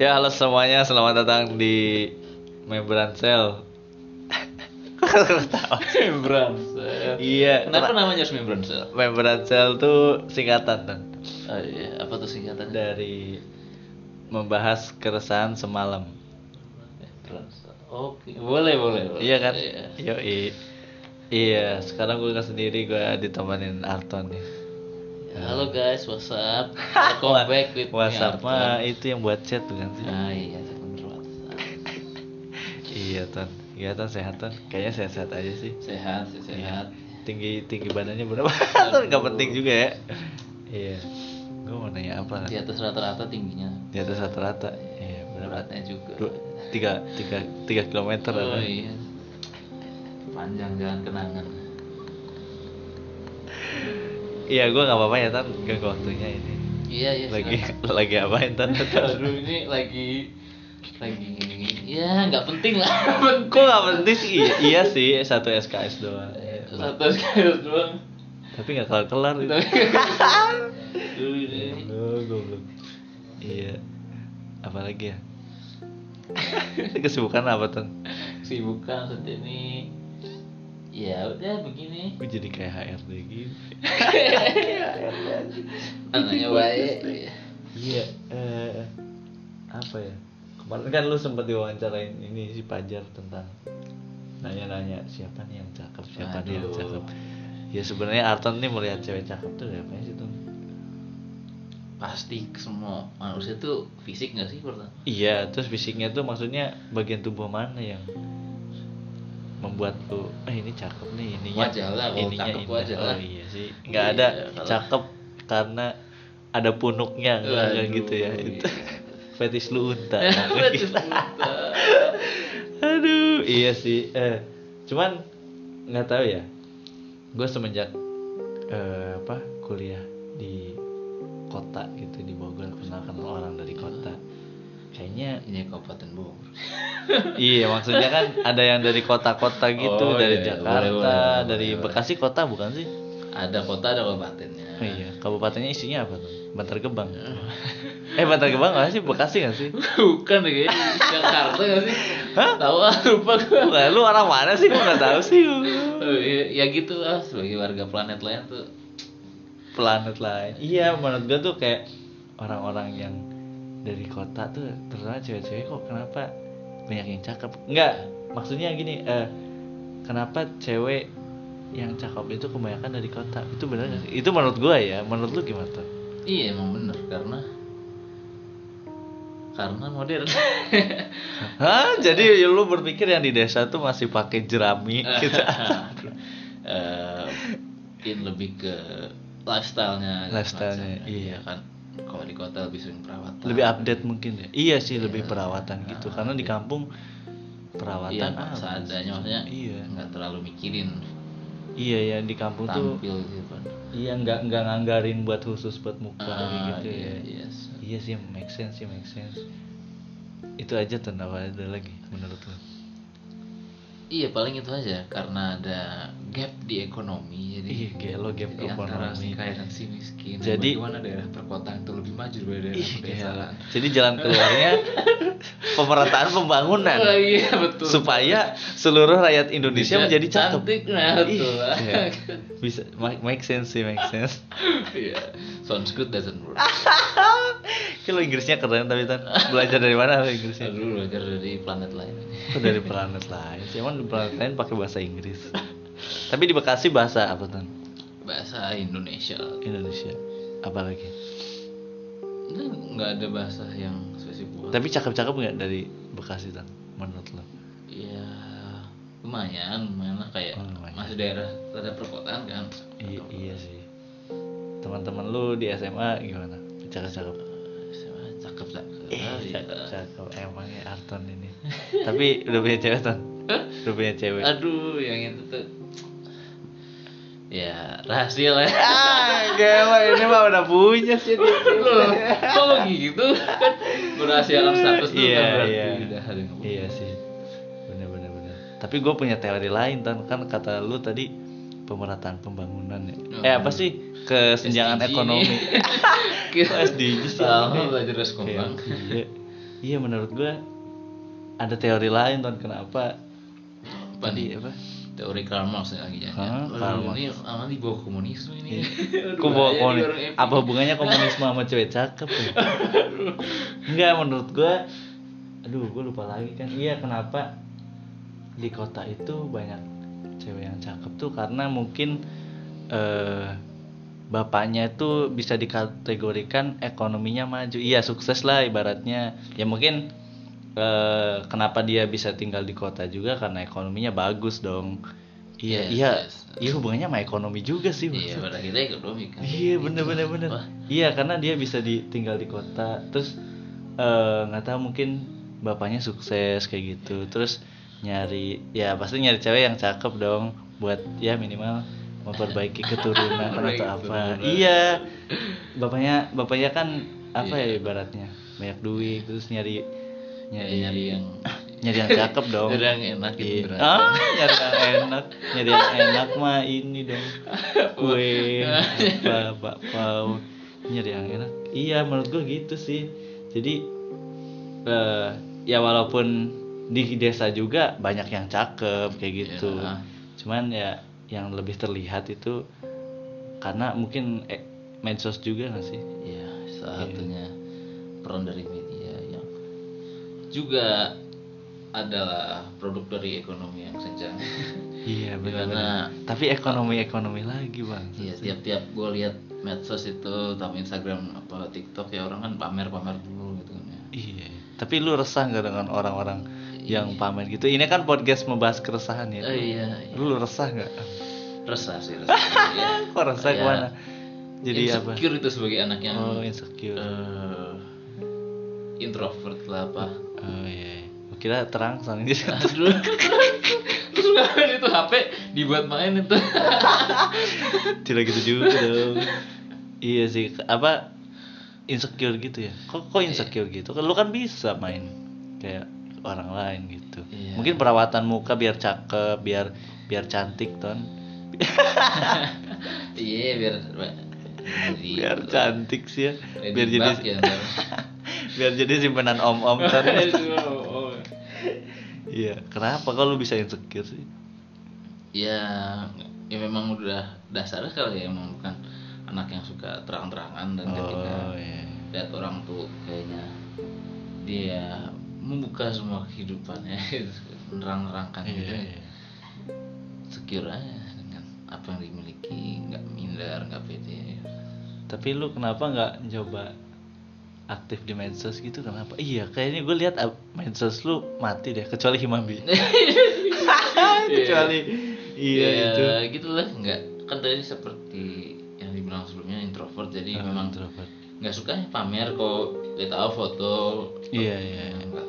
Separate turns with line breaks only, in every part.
Ya halo semuanya, selamat datang di Membran Cell. Ketawa.
membran
Iya,
Kenapa
kena-
namanya harus membran sel?
Membran Cell tuh singkatan Bang.
Oh, iya. Apa tuh singkatannya?
dari membahas keresahan semalam.
Membran sel. Oke, boleh boleh. boleh.
Iya kan? Yoi. Iya, sekarang gue nggak sendiri, gue ditemanin Arton nih. Eh,
Halo guys, Ya. what's up? Welcome back with me,
WhatsApp mah Ah,
Arton.
itu yang buat chat bukan sih?
Ah iya, saya bener WhatsApp.
Iya, Ton. Iya, Ton sehat, Ton. Kayaknya sehat-sehat aja sih.
Sehat, sih, sehat.
tinggi tinggi badannya berapa Tuh, nggak penting juga ya iya gue mau nanya apa
Di atas rata-rata tingginya.
di atas rata-rata iya berapa
Beratnya juga.
dua tiga tiga tiga kilometer
oh
apa?
iya. Panjang jalan kenangan.
iya gue nggak apa-apa ya tan gak waktunya ini
Iya iya.
lagi
silakan.
lagi apain tan
Aduh ini lagi lagi ya nggak penting lah.
kok nggak penting sih iya, iya sih satu SKS doang Iya.
Iya, Satu sekali doang.
tapi nggak kelar kelar
Aduh, ini.
belum iya apalagi ya kesibukan apa tan
Sibukan saat ini. Ya udah begini.
Gue jadi kayak HRD gitu
Anaknya baik.
Iya, eh, apa ya? Kemarin kan lu sempat diwawancara ini si Pajar tentang nanya-nanya siapa nih yang cakep, siapa nih yang
Aduh.
cakep. Ya sebenarnya Arton nih melihat cewek cakep tuh dari apa sih tuh?
Pasti semua manusia tuh fisik nggak sih pertama?
Iya, terus fisiknya tuh maksudnya bagian tubuh mana yang membuat lu eh ini cakep nih ininya
Wajah lah, kalau cakep
indah."
wajah lah.
oh iya sih nggak ada
Iya, kalau-
cakep karena ada punuknya nggak nggak
Waduh,
gitu ya itu
iya.
fetish lu unta
Betul, betul.
Aduh, iya sih. Eh, cuman nggak tahu ya. Gue semenjak eh, apa kuliah di kota gitu di Bogor kenal kenal orang dari kota. Kayaknya
Ini Kabupaten Bogor.
iya maksudnya kan ada yang dari kota-kota gitu
Oh,
dari
iya, iya.
Jakarta,
Boleh, boleh,
dari
boleh, Eh.
Bekasi kota bukan sih?
Ada kota ada kabupatennya.
Oh, iya, kabupatennya isinya apa tuh? Bantar Gebang. eh Bantar Gebang nggak sih? Bekasi nggak sih?
Bukan deh kayaknya Jakarta nggak sih?
Hah?
Tahu ah lupa gue.
Bukan, lu orang mana sih? Gue nggak tahu sih.
Oh, iya, ya gitu ah sebagai warga planet lain tuh
planet lain iya menurut gue tuh kayak orang-orang yang dari kota tuh terutama cewek-cewek kok kenapa banyak yang cakep nggak maksudnya gini eh kenapa cewek yang cakep itu kebanyakan dari kota itu benar nggak sih? itu menurut gue ya menurut lu gimana tuh
iya emang bener karena karena modern
Hah? jadi ya lu berpikir yang di desa tuh masih pakai jerami gitu
Eh, mungkin lebih ke lifestyle-nya gitu
Lifestyle-nya,
macamnya.
iya.
kan kalau di kota lebih sering perawatan
lebih update mungkin ya iya sih lebih perawatan gitu karena di kampung perawatan
iya
apa sih?
seadanya maksudnya
Iya.
nggak terlalu mikirin
iya yang di kampung tuh
tampil gitu kan
Iya nggak nggak nganggarin buat khusus buat muka
Ah,
gitu
iya,
ya.
iya.
Iya sih make sense sih make sense. Itu aja tuh apa ada lagi menurut lu?
Iya, paling itu aja karena ada gap di ekonomi jadi
Ih gelo game
Jadi antara
Iya, ekonomi.
si kaya dan si miskin.
Jadi- Iya.
bagaimana daerah perkotaan itu lebih maju daripada daerah
Ih, gelo.
pedesaan?
Jadi jalan keluarnya pemerataan pembangunan
Oh, iya betul.
supaya seluruh rakyat Indonesia
Bisa
menjadi cakep.
cantik nah
Ih,
betul.
iya. Bisa ma- make sense sih make sense.
Iya. Sounds good doesn't work.
Ah. Kalau Inggrisnya keren tapi Tan. belajar dari mana lu Inggrisnya?
Aduh, belajar dari planet lain.
Itu dari planet lain. Cuman di planet lain pakai bahasa Inggris. Tapi di Bekasi bahasa apa tuh?
Bahasa Indonesia.
Indonesia. Apalagi.
Nah, nggak ada bahasa yang spesifik.
Tapi cakep-cakep nggak dari Bekasi Tan? Menurut lo?
ya lumayan, lumayan lah kayak
Oh, lumayan.
masih daerah daerah perkotaan kan.
I- iya sih. Teman-teman lu di SMA gimana? Cakep-cakep.
Eh, Cakep cakep.
iya.
Iya.
Eh, cakep emang ya Arton ini. Tapi udah punya cewek Tan? Udah punya cewek.
Aduh, yang itu tuh. Ya, rahasia lah.
Ah, gila ini mah udah punya sih dia.
Loh, kok gitu? Kan berhasil dalam status tuh
Iya,
kan berarti
iya.
udah ada yang ngomong.
Iya sih, bener bener bener. Tapi gue punya teori lain Tan. kan kata lu tadi pemerataan pembangunan ya.
Hmm.
Eh apa sih kesenjangan
SDG.
ekonomi?
Kita
Kok SDG sih?
Sama belajar harus kembang.
Iya. iya menurut gue ada teori lain ton kenapa
Apa
tadi
nih?
apa
Teori Karl Marx nih lagi
Iya.
ya.
Hah,
jajan.
Karl
Waduh, ini sama di bawah komunisme ini. Aduh,
Kok bawa
bahaya nih
komunis-
orang epic.
apa hubungannya komunisme sama cewek cakep ya? Enggak menurut gue Aduh gue lupa lagi kan Iya kenapa di kota itu banyak cewek yang cakep tuh Karena mungkin eh, bapaknya itu bisa dikategorikan ekonominya maju Iya sukses lah ibaratnya Ya mungkin eh, kenapa dia bisa tinggal di kota juga Karena ekonominya bagus dong Iya,
Yes,
iya,
yes.
iya hubungannya sama ekonomi juga sih.
Iya,
maksud
pada kita ekonomi kan.
Iya
Gitu.
bener bener bener.
Wah,
Iya karena dia bisa ditinggal di kota. Terus eh, nggak tahu mungkin bapaknya sukses kayak gitu. Terus nyari ya pasti nyari cewek yang cakep dong buat ya minimal memperbaiki keturunan
Memperbaiki
atau apa.
keturunan.
Iya bapaknya bapaknya kan apa ya
Iya.
ibaratnya banyak duit terus nyari nyari
nyari yang
nyari yang cakep iya. dong.
Nyari yang enak gitu,
Iya.
berat.
Ah, nyari yang enak, nyari yang enak mah ini dong. Kue, apa, bakpao, nyari yang enak. Iya, menurut gue gitu sih. Jadi eh, ya walaupun di desa juga banyak yang cakep kayak gitu.
Iya.
Cuman ya yang lebih terlihat itu karena mungkin eh, medsos juga nggak sih? Iya.
ya salah satunya peran dari media yang juga adalah produk dari ekonomi yang kencang.
Iya
Dimana-
benar. Tapi ekonomi ekonomi lagi bang.
Iya, tiap-tiap gue lihat medsos itu, tapi Instagram apa TikTok ya orang kan pamer-pamer dulu gitu kan ya.
Iya. Tapi lu resah nggak dengan orang-orang
Iya.
yang pamer gitu? Ini kan podcast membahas keresahan ya.
Oh, iya, iya.
Lu resah nggak?
Resah sih resah. Iya.
Kok resah
Kayak
kemana? Jadi apa?
insecure itu sebagai anak yang
Oh insecure.
eh, introvert lah apa.
Oh iya. Gua Kira terang soalnya di situ.
Terus terus ngapain itu HP dibuat main itu.
Tidak gitu juga dong. iya sih. Apa insecure gitu ya? Kok
Iya.
kok insecure gitu? Kan Lu kan bisa main kayak orang lain gitu.
Iya.
Mungkin perawatan muka biar cakep, biar biar cantik ton.
Iya biar jadi
Biar cantik sih ya.
Lady
Biar jadi
Bug Iya. ya, ntar.
biar jadi simpenan om-om kan
Aduh, oh.
iya kenapa kok lu bisa insecure sih
ya ya memang udah dasarnya kali ya emang bukan anak yang suka terang-terangan dan ketika
oh iya
lihat orang tuh kayaknya dia membuka semua kehidupannya menerang-nerangkan
iya
gitu
iya.
sekiranya dengan apa yang dimiliki nggak minder nggak pede
tapi lu kenapa nggak coba aktif di medsos gitu kenapa iya kayaknya gue lihat ab- medsos lu mati deh kecuali Himabi kecuali iya
Ya,
itu
gitulah nggak kan tadi seperti yang dibilang sebelumnya introvert jadi
Oh,
memang
introvert.
nggak suka ya pamer kok dia tahu foto
iya iya iya.
nggak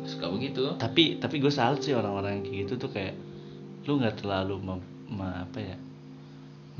nggak suka begitu
tapi tapi gue salut sih orang-orang yang kayak gitu tuh kayak lu nggak terlalu mem- me- apa ya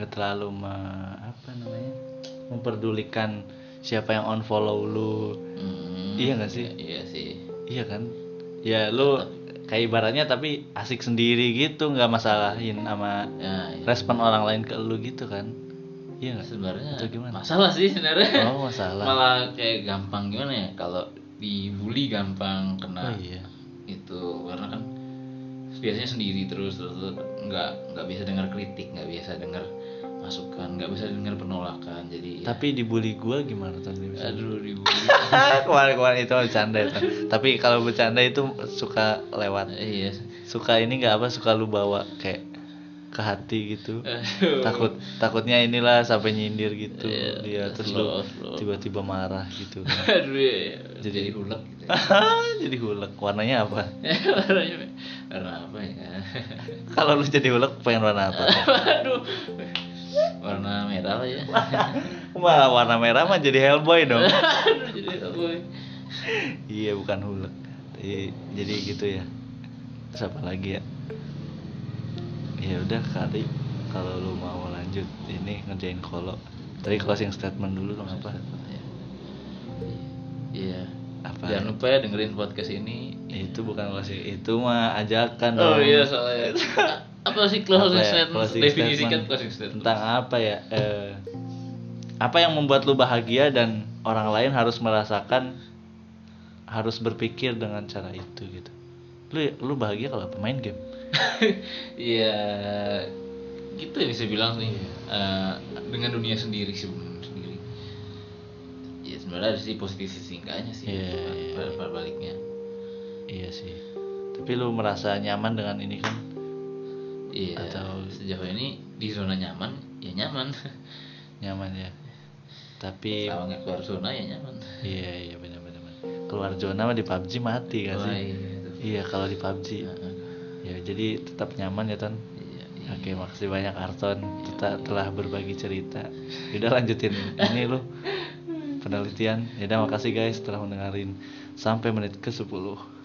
nggak terlalu me- apa namanya memperdulikan siapa yang unfollow lu
Hmm,
Iya nggak sih?
iya sih
iya kan ya lu kayak ibaratnya tapi asik sendiri gitu nggak masalahin sama
ya, ya.
respon orang lain ke lu gitu kan iya nggak
sebenarnya
Atau gimana?
masalah sih sebenarnya
oh masalah
malah kayak gampang gimana ya kalau dibully gampang
oh
kena
iya
itu karena kan biasanya sendiri terus terus terus. nggak nggak biasa dengar kritik nggak biasa dengar masukan nggak bisa dengar penolakan jadi ya,
tapi dibully gua gimana tadi
aduh dibully
kemarin-kemarin itu bercanda itu. tapi kalau bercanda itu suka lewat
iya
suka ini nggak apa suka lu bawa kayak ke hati gitu
Aduh.
takut takutnya inilah sampai nyindir gitu
Iya,
dia terus lu
slow, slow.
tiba-tiba marah gitu
aduh ya, ya.
Jadi-
jadi hulek gitu ya.
jadi hulek warnanya apa
Warnanya- warna apa ya
kalau lu jadi hulek pengen warna apa
aduh warna merah lah ya
malah warna merah mah jadi hellboy dong
aduh jadi boy
iya bukan hulek jadi, jadi gitu ya terus apa lagi ya ya udah kali kalau lu mau lanjut ini ngerjain kolok tadi closing statement dulu dong apa
iya
Apa?
jangan lupa ya dengerin podcast ini
itu bukan closing itu mah ajakan
Oh
Kan dong.
iya soalnya apa sih
Apa
closing
ya,
statement?
closing
Definisikan
statement.
closing statement.
tentang apa ya eh, apa yang membuat lu bahagia dan orang lain harus merasakan harus berpikir dengan cara itu gitu lu lu bahagia kalau pemain game
Iya gitu yang bisa bilang sih
Iya.
Eh, dengan dunia sendiri sih dengan dunia sendiri ya sebenarnya ada sih positif sisi enggaknya sih
Iya, iya,
pada,
iya.
pada baliknya
iya sih tapi lu merasa nyaman dengan ini kan
iya
Atau-
sejauh ini di zona nyaman ya nyaman
nyaman ya tapi
kalau nggak keluar zona ya nyaman
iya iya benar benar benar. keluar zona mah di PUBG mati gak
Wah,
sih
iya, itu.
iya kalau di PUBG
Heeh.
ya jadi tetap nyaman ya ton
Iya, iya.
Oke, makasih banyak Arton. Kita telah berbagi cerita. Yaudah lanjutin ini lu penelitian. Yaudah makasih guys telah mendengarin sampai menit ke 10.